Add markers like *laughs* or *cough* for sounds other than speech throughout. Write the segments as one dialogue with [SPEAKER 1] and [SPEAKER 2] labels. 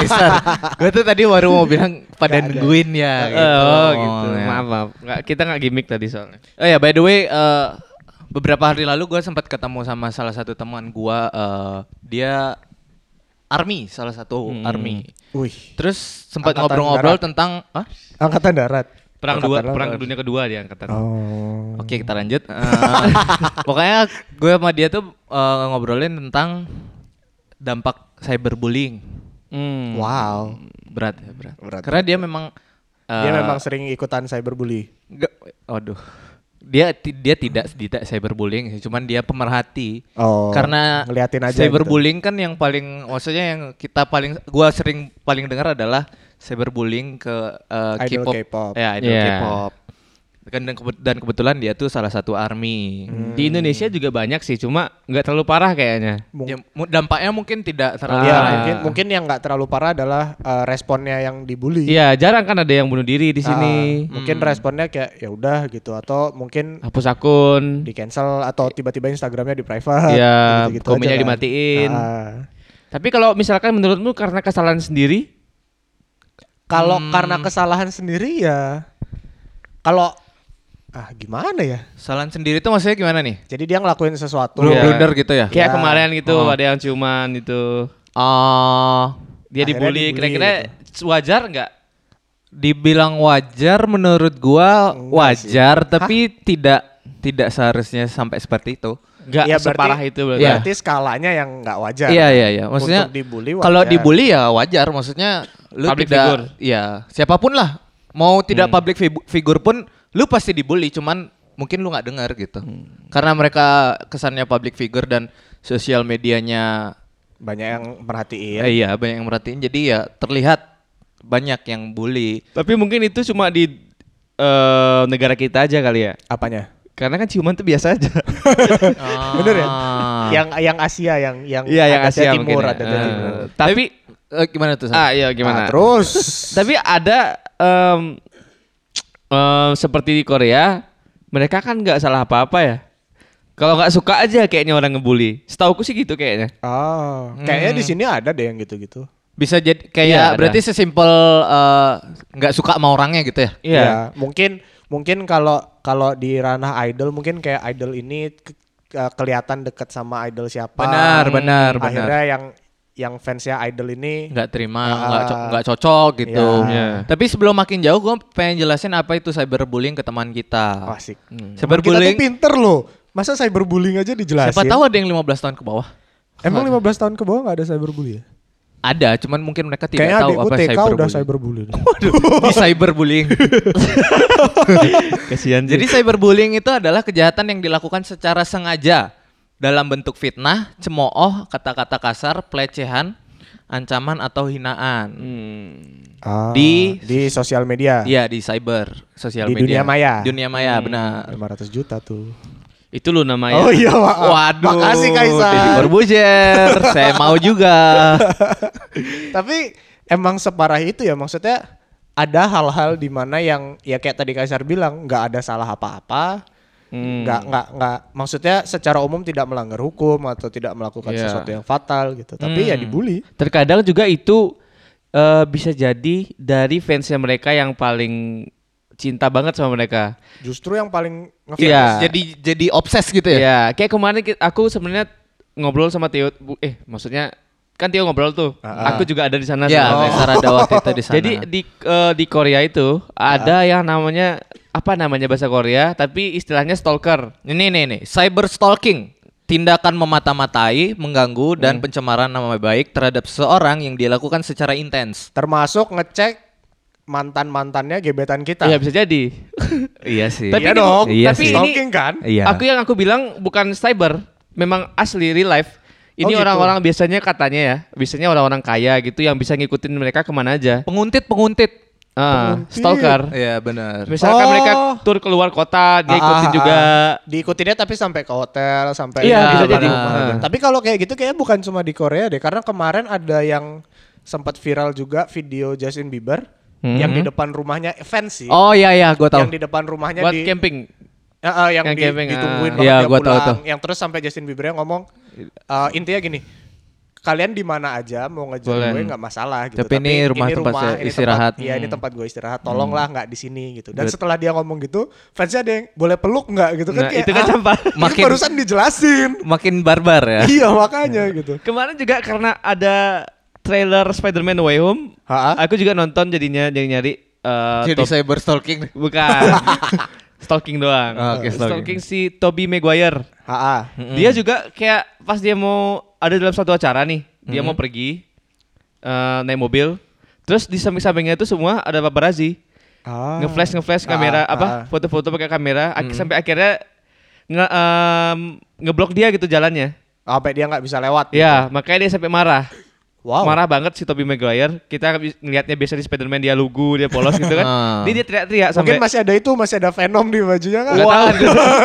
[SPEAKER 1] Mister, gue tuh tadi baru mau bilang pada nungguin ya gitu.
[SPEAKER 2] Oh gitu.
[SPEAKER 1] ya.
[SPEAKER 2] Maaf maaf. Nggak- kita nggak gimmick tadi soalnya.
[SPEAKER 1] Oh ya, by the way, eh, beberapa hari lalu gue sempat ketemu sama salah satu teman gue. eh, dia army, salah satu
[SPEAKER 2] Hmm.
[SPEAKER 1] army.
[SPEAKER 3] Wih.
[SPEAKER 1] Terus sempat
[SPEAKER 3] Angkatan
[SPEAKER 1] ngobrol-ngobrol
[SPEAKER 3] darat.
[SPEAKER 1] tentang, ah,
[SPEAKER 3] Angkatan darat.
[SPEAKER 2] Perang dua,
[SPEAKER 3] Angkatan
[SPEAKER 2] perang
[SPEAKER 3] darat.
[SPEAKER 2] dunia kedua dia angkatan.
[SPEAKER 3] Oh.
[SPEAKER 1] Oke kita lanjut. Eh, *laughs* pokoknya gue sama dia tuh eh, ngobrolin tentang dampak cyberbullying.
[SPEAKER 2] Hmm.
[SPEAKER 3] Wow.
[SPEAKER 1] Berat ya berat.
[SPEAKER 3] Berat,
[SPEAKER 1] Karena dia memang. eh,
[SPEAKER 3] Dia memang sering ikutan cyberbully.
[SPEAKER 1] nggak- Waduh. Dia ti- dia tidak tidak cyberbullying sih, cuman dia pemerhati.
[SPEAKER 3] Oh,
[SPEAKER 1] Karena
[SPEAKER 3] ngeliatin aja gitu.
[SPEAKER 1] cyberbullying kan yang paling maksudnya yang kita paling gua sering paling dengar adalah cyberbullying ke eh,
[SPEAKER 3] Idol
[SPEAKER 1] K-pop.
[SPEAKER 3] K-pop.
[SPEAKER 1] Ya, idol
[SPEAKER 2] Yeah.
[SPEAKER 1] K-pop. Kan dan, kebet- dan kebetulan dia tuh salah satu army.
[SPEAKER 3] Hmm.
[SPEAKER 2] Di Indonesia juga banyak sih, cuma nggak terlalu parah kayaknya.
[SPEAKER 1] Ya, mu- dampaknya mungkin tidak terlalu
[SPEAKER 3] Ya,
[SPEAKER 2] Ah.
[SPEAKER 1] parah.
[SPEAKER 3] mungkin mungkin yang nggak terlalu parah adalah eh, responnya yang dibully.
[SPEAKER 2] Iya, jarang kan ada yang bunuh diri
[SPEAKER 3] Ah.
[SPEAKER 2] di sini. Hmm.
[SPEAKER 3] mungkin responnya kayak ya udah gitu atau mungkin
[SPEAKER 2] Hapus akun.
[SPEAKER 3] di cancel atau tiba-tiba Instagramnya di private.
[SPEAKER 2] Iya,
[SPEAKER 3] gitu-gitu
[SPEAKER 2] komennya
[SPEAKER 3] aja kan.
[SPEAKER 2] dimatiin.
[SPEAKER 3] Ah.
[SPEAKER 2] Tapi kalau misalkan menurutmu karena kesalahan sendiri,
[SPEAKER 3] Kalau
[SPEAKER 2] Hmm.
[SPEAKER 3] karena kesalahan sendiri ya kalau ah gimana ya?
[SPEAKER 1] Kesalahan sendiri tuh maksudnya gimana nih?
[SPEAKER 3] Jadi dia ngelakuin sesuatu.
[SPEAKER 1] Blunder,
[SPEAKER 2] Iya.
[SPEAKER 1] blunder gitu ya?
[SPEAKER 2] kayak
[SPEAKER 3] Ya.
[SPEAKER 2] kemarin gitu
[SPEAKER 1] Oh.
[SPEAKER 2] ada yang cuman itu
[SPEAKER 1] Ah,
[SPEAKER 3] Akhirnya
[SPEAKER 2] dia dibully.
[SPEAKER 3] dibully gitu.
[SPEAKER 2] Kira-kira wajar nggak?
[SPEAKER 1] dibilang wajar menurut gua wajar tapi tidak tidak seharusnya sampai seperti itu.
[SPEAKER 2] Nggak
[SPEAKER 3] Ya, berarti-
[SPEAKER 2] separah itu berarti.
[SPEAKER 1] Iya.
[SPEAKER 3] Berarti skalanya yang nggak wajar.
[SPEAKER 1] Iya iya iya. Maksudnya
[SPEAKER 3] Untuk dibully
[SPEAKER 1] kalau
[SPEAKER 3] wajar.
[SPEAKER 1] dibully ya wajar. Maksudnya lu
[SPEAKER 2] Public
[SPEAKER 1] tidak
[SPEAKER 2] figure. Hmm.
[SPEAKER 1] ya siapapun lah mau tidak public figu- figure pun lu pasti dibully. Cuman mungkin lu nggak dengar gitu.
[SPEAKER 3] Hmm.
[SPEAKER 1] Karena mereka kesannya public figure dan sosial medianya
[SPEAKER 3] Banyak yang merhatiin.
[SPEAKER 1] ya iya banyak yang merhatiin. Jadi ya terlihat banyak yang bully.
[SPEAKER 2] Tapi mungkin itu cuma di eh, negara kita aja kali ya.
[SPEAKER 3] Apanya?
[SPEAKER 2] Karena kan ciuman tuh biasa
[SPEAKER 3] *laughs*
[SPEAKER 2] aja.
[SPEAKER 3] Bener
[SPEAKER 2] *laughs*
[SPEAKER 3] ya?
[SPEAKER 1] Ah.
[SPEAKER 3] Yang yang Asia yang yang
[SPEAKER 2] Iya, yang
[SPEAKER 3] ada
[SPEAKER 2] Asia
[SPEAKER 3] timur
[SPEAKER 2] mungkin. ya.
[SPEAKER 3] ada
[SPEAKER 2] Eh,
[SPEAKER 3] timur.
[SPEAKER 2] tapi
[SPEAKER 1] Eh, gimana tuh? San?
[SPEAKER 2] ah iya gimana?
[SPEAKER 3] Nah, terus
[SPEAKER 1] *laughs*
[SPEAKER 2] Tapi ada em, em, seperti di Korea, mereka kan nggak salah apa-apa ya. Kalau nggak suka aja kayaknya orang ngebully. Setauku sih gitu kayaknya.
[SPEAKER 3] Oh, kayaknya
[SPEAKER 2] Hmm.
[SPEAKER 3] di sini ada deh yang gitu-gitu.
[SPEAKER 1] Bisa jadi kayak
[SPEAKER 2] Iya, ada.
[SPEAKER 1] berarti sesimpel eh, nggak suka sama orangnya gitu ya?
[SPEAKER 2] Iya.
[SPEAKER 3] Ya, mungkin mungkin kalau kalau di ranah idol mungkin kayak idol ini ke- ke- kelihatan deket sama idol siapa.
[SPEAKER 1] Benar,
[SPEAKER 2] Hmm.
[SPEAKER 1] benar, benar.
[SPEAKER 3] Akhirnya yang yang fansnya idol ini
[SPEAKER 1] nggak terima,
[SPEAKER 3] Ah.
[SPEAKER 1] nggak co- nggak cocok gitu.
[SPEAKER 3] Ya.
[SPEAKER 2] Ya.
[SPEAKER 1] Tapi sebelum makin jauh, gue pengen jelasin apa itu cyberbullying ke teman kita. Hmm.
[SPEAKER 3] oh, asik. Teman Kita tuh
[SPEAKER 1] Cyberbullying,
[SPEAKER 3] pinter loh. Masa cyberbullying aja dijelasin?
[SPEAKER 1] siapa tahu ada yang 15 tahun ke bawah.
[SPEAKER 3] Emang 15 tahun ke bawah gak ada cyberbully ya?
[SPEAKER 1] Ada, cuman mungkin mereka tidak
[SPEAKER 3] Kayaknya
[SPEAKER 1] tahu
[SPEAKER 3] adikku
[SPEAKER 1] apa
[SPEAKER 3] TK
[SPEAKER 1] cyberbullying.
[SPEAKER 3] udah cyberbully.
[SPEAKER 1] *laughs*
[SPEAKER 3] *laughs*
[SPEAKER 1] Di cyberbullying.
[SPEAKER 2] Iya. Kasihan
[SPEAKER 1] Jadi cyberbullying itu adalah kejahatan yang dilakukan secara sengaja dalam bentuk fitnah, cemooh, kata-kata kasar, pelecehan, ancaman atau hinaan.
[SPEAKER 2] hmm,
[SPEAKER 3] Ah,
[SPEAKER 1] Di-
[SPEAKER 3] di sosial media.
[SPEAKER 1] Iya, di cyber, sosial
[SPEAKER 3] Di
[SPEAKER 1] media.
[SPEAKER 3] dunia maya.
[SPEAKER 1] Dunia maya,
[SPEAKER 3] *laughs*
[SPEAKER 1] benar.
[SPEAKER 3] 500 juta tuh.
[SPEAKER 2] Itu lu namanya.
[SPEAKER 3] Oh iya, maaf.
[SPEAKER 1] Ah, Waduh,
[SPEAKER 3] Makasih
[SPEAKER 1] Deddy
[SPEAKER 3] Kaisar.
[SPEAKER 1] Corbuzier, saya mau juga.
[SPEAKER 3] Tapi emang separah itu ya maksudnya ada hal-hal di mana yang ya kayak tadi Kaisar bilang nggak ada salah apa-apa,
[SPEAKER 2] Hmm.
[SPEAKER 3] nggak nggak nggak maksudnya secara umum tidak melanggar hukum atau tidak melakukan
[SPEAKER 2] Iya.
[SPEAKER 3] sesuatu yang fatal gitu. Tapi
[SPEAKER 1] Hmm.
[SPEAKER 3] ya dibully.
[SPEAKER 2] Terkadang juga itu eh, bisa jadi dari fansnya mereka yang paling cinta banget sama mereka.
[SPEAKER 3] Justru yang paling ngefans.
[SPEAKER 2] Iya.
[SPEAKER 1] Jadi jadi obses gitu ya.
[SPEAKER 2] Iya, kayak kemarin ki- aku sebenarnya ngobrol sama Tio, bu- eh maksudnya kan Tio ngobrol tuh. Aku juga ada di sana.
[SPEAKER 1] Iya,
[SPEAKER 2] sebenarnya.
[SPEAKER 1] Kaisar ada waktu itu *laughs* di sana.
[SPEAKER 2] Jadi di eh, di Korea itu ada yang namanya apa namanya bahasa Korea, tapi istilahnya stalker.
[SPEAKER 1] ini nih nih, cyber stalking, tindakan memata-matai, mengganggu dan pencemaran nama baik terhadap seseorang yang dilakukan secara intens.
[SPEAKER 3] Termasuk ngecek mantan-mantannya gebetan kita.
[SPEAKER 2] Iya bisa jadi.
[SPEAKER 1] iya sih.
[SPEAKER 2] tapi
[SPEAKER 3] Iya
[SPEAKER 2] ini-
[SPEAKER 3] dong.
[SPEAKER 2] Iya
[SPEAKER 3] tapi
[SPEAKER 2] sih.
[SPEAKER 3] stalking kan?
[SPEAKER 1] Iya.
[SPEAKER 2] Aku yang aku bilang bukan cyber, memang asli real life.
[SPEAKER 3] Oh,
[SPEAKER 2] Ini
[SPEAKER 3] gitu.
[SPEAKER 2] orang-orang biasanya katanya ya, biasanya orang-orang kaya gitu yang bisa ngikutin mereka kemana aja.
[SPEAKER 1] penguntit penguntit.
[SPEAKER 2] Ah,
[SPEAKER 3] Penguntit.
[SPEAKER 2] stalker.
[SPEAKER 1] Iya benar.
[SPEAKER 2] Misalkan
[SPEAKER 3] Oh.
[SPEAKER 2] mereka tur keluar kota,
[SPEAKER 3] Ah,
[SPEAKER 2] dia Iya, ikutin
[SPEAKER 3] ah,
[SPEAKER 2] juga.
[SPEAKER 3] ah. Diikutinnya tapi sampai ke hotel, sampai
[SPEAKER 2] Iya,
[SPEAKER 3] ke
[SPEAKER 1] bisa
[SPEAKER 3] rumah.
[SPEAKER 1] jadi.
[SPEAKER 2] Ah.
[SPEAKER 3] Tapi kalau kayak gitu kayaknya bukan cuma di Korea deh, karena kemarin ada yang sempat viral juga video Justin Bieber
[SPEAKER 2] Hmm.
[SPEAKER 3] yang di depan rumahnya fans sih.
[SPEAKER 1] Oh iya iya, gua tahu.
[SPEAKER 3] Yang di depan rumahnya
[SPEAKER 2] Buat
[SPEAKER 3] di
[SPEAKER 2] camping.
[SPEAKER 3] Eh, eh, yang,
[SPEAKER 2] yang
[SPEAKER 3] di-
[SPEAKER 2] camping,
[SPEAKER 3] ditungguin
[SPEAKER 2] ah.
[SPEAKER 3] banget
[SPEAKER 1] Iya,
[SPEAKER 3] dia
[SPEAKER 1] gua tahu
[SPEAKER 3] pulang.
[SPEAKER 1] tuh.
[SPEAKER 3] Yang terus sampai Justin Bieber ngomong eh, intinya gini. kalian di mana aja mau ngejar
[SPEAKER 1] Boleh.
[SPEAKER 3] gue nggak masalah gitu.
[SPEAKER 1] Tapi ini rumah tempat saya
[SPEAKER 3] ini
[SPEAKER 1] istirahat. Hmm.
[SPEAKER 3] Iya ini tempat gue istirahat. Tolonglah nggak di sini gitu. Dan setelah dia ngomong gitu, fansnya ada yang boleh peluk nggak gitu kan?
[SPEAKER 2] Nah, itu kan sampah.
[SPEAKER 3] ini
[SPEAKER 1] Makin-
[SPEAKER 3] barusan
[SPEAKER 1] *laughs*
[SPEAKER 3] dijelasin.
[SPEAKER 1] Makin barbar ya.
[SPEAKER 3] iya makanya gitu.
[SPEAKER 2] Kemarin juga karena ada trailer Spider-Man No Way Home,
[SPEAKER 3] Ha-ha.
[SPEAKER 2] aku juga nonton jadinya jadi nyari eh,
[SPEAKER 1] *laughs* Jadi
[SPEAKER 2] top-
[SPEAKER 1] cyber stalking.
[SPEAKER 2] *laughs* bukan stalking doang.
[SPEAKER 1] Oh,
[SPEAKER 3] Ah,
[SPEAKER 1] oke,
[SPEAKER 2] stalking. si Toby Maguire.
[SPEAKER 3] Ha-ha.
[SPEAKER 1] Hmm.
[SPEAKER 2] Dia juga kayak pas dia mau ada dalam satu acara nih, dia mau pergi eh, naik mobil. Terus di samping-sampingnya itu semua ada paparazzi.
[SPEAKER 3] Ah.
[SPEAKER 2] Ngeflash ngeflash
[SPEAKER 3] Ah,
[SPEAKER 2] kamera
[SPEAKER 3] ah,
[SPEAKER 2] apa
[SPEAKER 3] ah.
[SPEAKER 2] foto-foto pakai kamera ak- sampai akhirnya nge em, ngeblok dia gitu jalannya.
[SPEAKER 3] Sampai dia nggak bisa
[SPEAKER 1] Iya.
[SPEAKER 3] lewat.
[SPEAKER 2] Ya, makanya dia sampai marah.
[SPEAKER 3] Wow.
[SPEAKER 2] Marah banget si Tobey Maguire. Kita bi- ngelihatnya biasa di Spider-Man dia lugu, dia polos gitu
[SPEAKER 3] *laughs*
[SPEAKER 2] kan.
[SPEAKER 1] Ah.
[SPEAKER 2] Dia dia teriak-teriak
[SPEAKER 3] Mungkin
[SPEAKER 2] sampai
[SPEAKER 3] masih ada itu, masih ada Venom di bajunya kan?
[SPEAKER 2] Nggak tahu kan.
[SPEAKER 3] *laughs*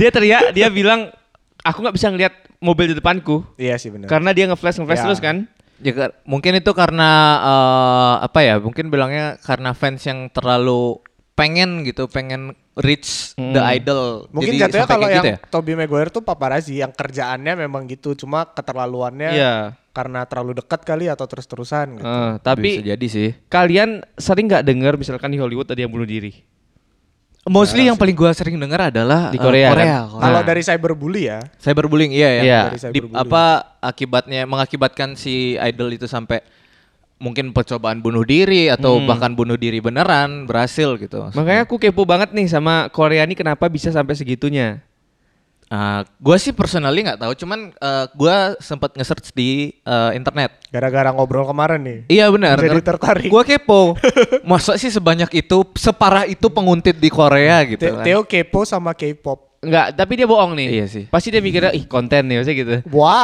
[SPEAKER 2] dia teriak, dia bilang aku nggak bisa ngelihat mobil di depanku
[SPEAKER 3] Iya sih
[SPEAKER 1] Nah.
[SPEAKER 3] benar.
[SPEAKER 2] karena dia nge-flash nge-flash
[SPEAKER 3] Ya.
[SPEAKER 2] terus kan.
[SPEAKER 1] Ya, kar- mungkin itu karena eh, apa ya? Mungkin bilangnya karena fans yang terlalu pengen gitu, pengen reach the idol.
[SPEAKER 3] Mungkin
[SPEAKER 1] Jadi
[SPEAKER 3] jatuhnya
[SPEAKER 1] sampai
[SPEAKER 3] kalau
[SPEAKER 1] kayak
[SPEAKER 3] yang
[SPEAKER 1] gitu
[SPEAKER 3] Tobey Maguire tuh paparazzi yang kerjaannya memang gitu, cuma
[SPEAKER 1] Ya.
[SPEAKER 3] keterlaluannya
[SPEAKER 2] Iya.
[SPEAKER 3] karena terlalu dekat kali atau terus-terusan gitu.
[SPEAKER 2] Eh,
[SPEAKER 1] Bisa
[SPEAKER 2] tapi
[SPEAKER 1] jadi sih.
[SPEAKER 2] kalian sering nggak dengar misalkan di Hollywood ada yang bunuh diri?
[SPEAKER 1] Mostly yang paling gua sering dengar adalah eh,
[SPEAKER 2] Di Korea,
[SPEAKER 1] Korea.
[SPEAKER 2] kan?
[SPEAKER 1] Korea.
[SPEAKER 3] Kalau
[SPEAKER 2] Nah.
[SPEAKER 3] dari cyberbully ya,
[SPEAKER 1] Cyberbullying iya ya.
[SPEAKER 2] Iya.
[SPEAKER 3] Dari
[SPEAKER 1] Di,
[SPEAKER 3] cyberbullying.
[SPEAKER 1] apa akibatnya mengakibatkan si idol itu sampai mungkin percobaan bunuh diri atau bahkan bunuh diri beneran berhasil gitu.
[SPEAKER 2] Makanya aku kepo banget nih sama Korea ini kenapa bisa sampai segitunya.
[SPEAKER 1] Ah, gua sih personally nggak tahu, cuman eh, gua sempat nge-search di eh, internet.
[SPEAKER 3] gara-gara ngobrol kemarin nih.
[SPEAKER 1] Iya benar.
[SPEAKER 3] Jadi
[SPEAKER 1] Ngerti.
[SPEAKER 3] tertarik.
[SPEAKER 1] Gua kepo. Masa sih sebanyak itu, separah itu penguntit di Korea gitu
[SPEAKER 3] Te-
[SPEAKER 1] kan.
[SPEAKER 3] Theo kepo sama K-pop.
[SPEAKER 2] Enggak, tapi dia bohong nih.
[SPEAKER 1] Iya sih.
[SPEAKER 2] Pasti dia mikirnya ih konten nih maksudnya
[SPEAKER 1] *laughs*
[SPEAKER 2] gitu.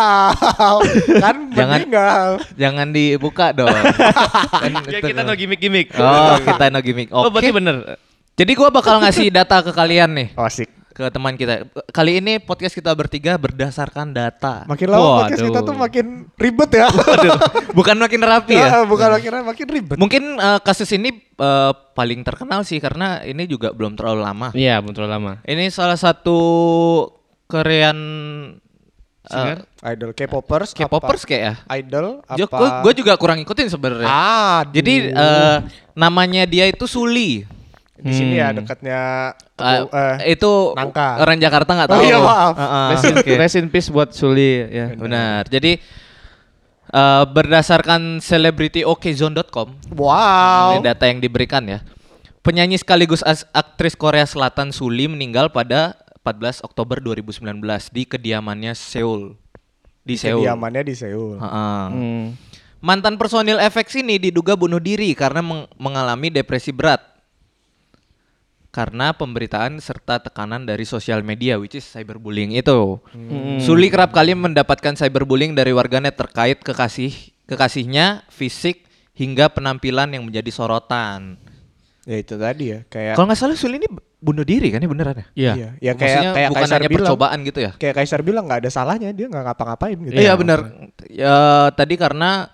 [SPEAKER 3] Wow, kan
[SPEAKER 1] Jangan.
[SPEAKER 3] meninggal.
[SPEAKER 1] Jangan dibuka dong. Kan
[SPEAKER 2] Ya
[SPEAKER 1] itu-
[SPEAKER 2] kita no gimmick-gimmick.
[SPEAKER 1] Oh, kita no gimmick.
[SPEAKER 2] Oh,
[SPEAKER 1] Oke.
[SPEAKER 2] berarti bener.
[SPEAKER 1] Jadi gua bakal ngasih data ke kalian nih,
[SPEAKER 3] Oh, asik.
[SPEAKER 1] ke teman kita. Kali ini podcast kita bertiga berdasarkan data.
[SPEAKER 3] Makin lama podcast
[SPEAKER 2] Waduh.
[SPEAKER 3] kita tuh makin ribet
[SPEAKER 1] *laughs*
[SPEAKER 3] ya.
[SPEAKER 1] Bukan makin rapi ya.
[SPEAKER 3] Ah, *laughs* Bukan akhirnya makin ribet.
[SPEAKER 1] Mungkin eh, kasus ini eh, paling terkenal sih karena ini juga belum terlalu lama.
[SPEAKER 2] Iya, betul lama.
[SPEAKER 1] Ini salah satu Korean eh,
[SPEAKER 2] Singer?
[SPEAKER 3] Idol K-popers apa-
[SPEAKER 1] K-popers kayak ya.
[SPEAKER 3] Idol
[SPEAKER 1] Jo-
[SPEAKER 3] apa?
[SPEAKER 1] Gue gue juga kurang ngikutin sebenarnya.
[SPEAKER 3] Ah,
[SPEAKER 1] Jadi eh, namanya dia itu Suli.
[SPEAKER 3] di sini ya dekatnya
[SPEAKER 1] Eh,
[SPEAKER 3] Tepu- eh,
[SPEAKER 1] itu
[SPEAKER 3] Nangka.
[SPEAKER 1] orang Jakarta nggak
[SPEAKER 3] Oh
[SPEAKER 1] tahu.
[SPEAKER 3] iya, maaf.
[SPEAKER 1] Heeh,
[SPEAKER 2] Rest in,
[SPEAKER 1] Ah, oke.
[SPEAKER 2] rest in peace buat Suli ya.
[SPEAKER 1] Benar. Jadi eh, berdasarkan selebrityokzone.com
[SPEAKER 3] wow.
[SPEAKER 1] Ini data yang diberikan ya. Penyanyi sekaligus as- aktris Korea Selatan Suli meninggal pada 14 Oktober 2019 di kediamannya Seoul. Di Seoul. Ah,
[SPEAKER 3] Kediamannya di Seoul.
[SPEAKER 1] Heeh.
[SPEAKER 2] Hmm.
[SPEAKER 1] Mantan personil FX ini diduga bunuh diri karena meng- mengalami depresi berat. Karena pemberitaan serta tekanan dari sosial media which is cyberbullying itu.
[SPEAKER 3] Hmm.
[SPEAKER 1] Suli kerap kali mendapatkan cyberbullying dari warganet terkait kekasih kekasihnya, fisik hingga penampilan yang menjadi sorotan.
[SPEAKER 3] Ya itu tadi ya, kayak
[SPEAKER 1] Kalau nggak salah Suli ini b- bunuh diri kan ya beneran ya?
[SPEAKER 2] Iya.
[SPEAKER 3] iya, ya kayak
[SPEAKER 1] Maksudnya
[SPEAKER 3] kayak
[SPEAKER 1] bukan
[SPEAKER 3] Kaisar
[SPEAKER 1] hanya
[SPEAKER 3] bilang.
[SPEAKER 1] percobaan gitu ya?
[SPEAKER 3] Kayak Kaisar bilang nggak ada salahnya, dia nggak ngapa-ngapain gitu.
[SPEAKER 1] Iya benar. Ya, tadi karena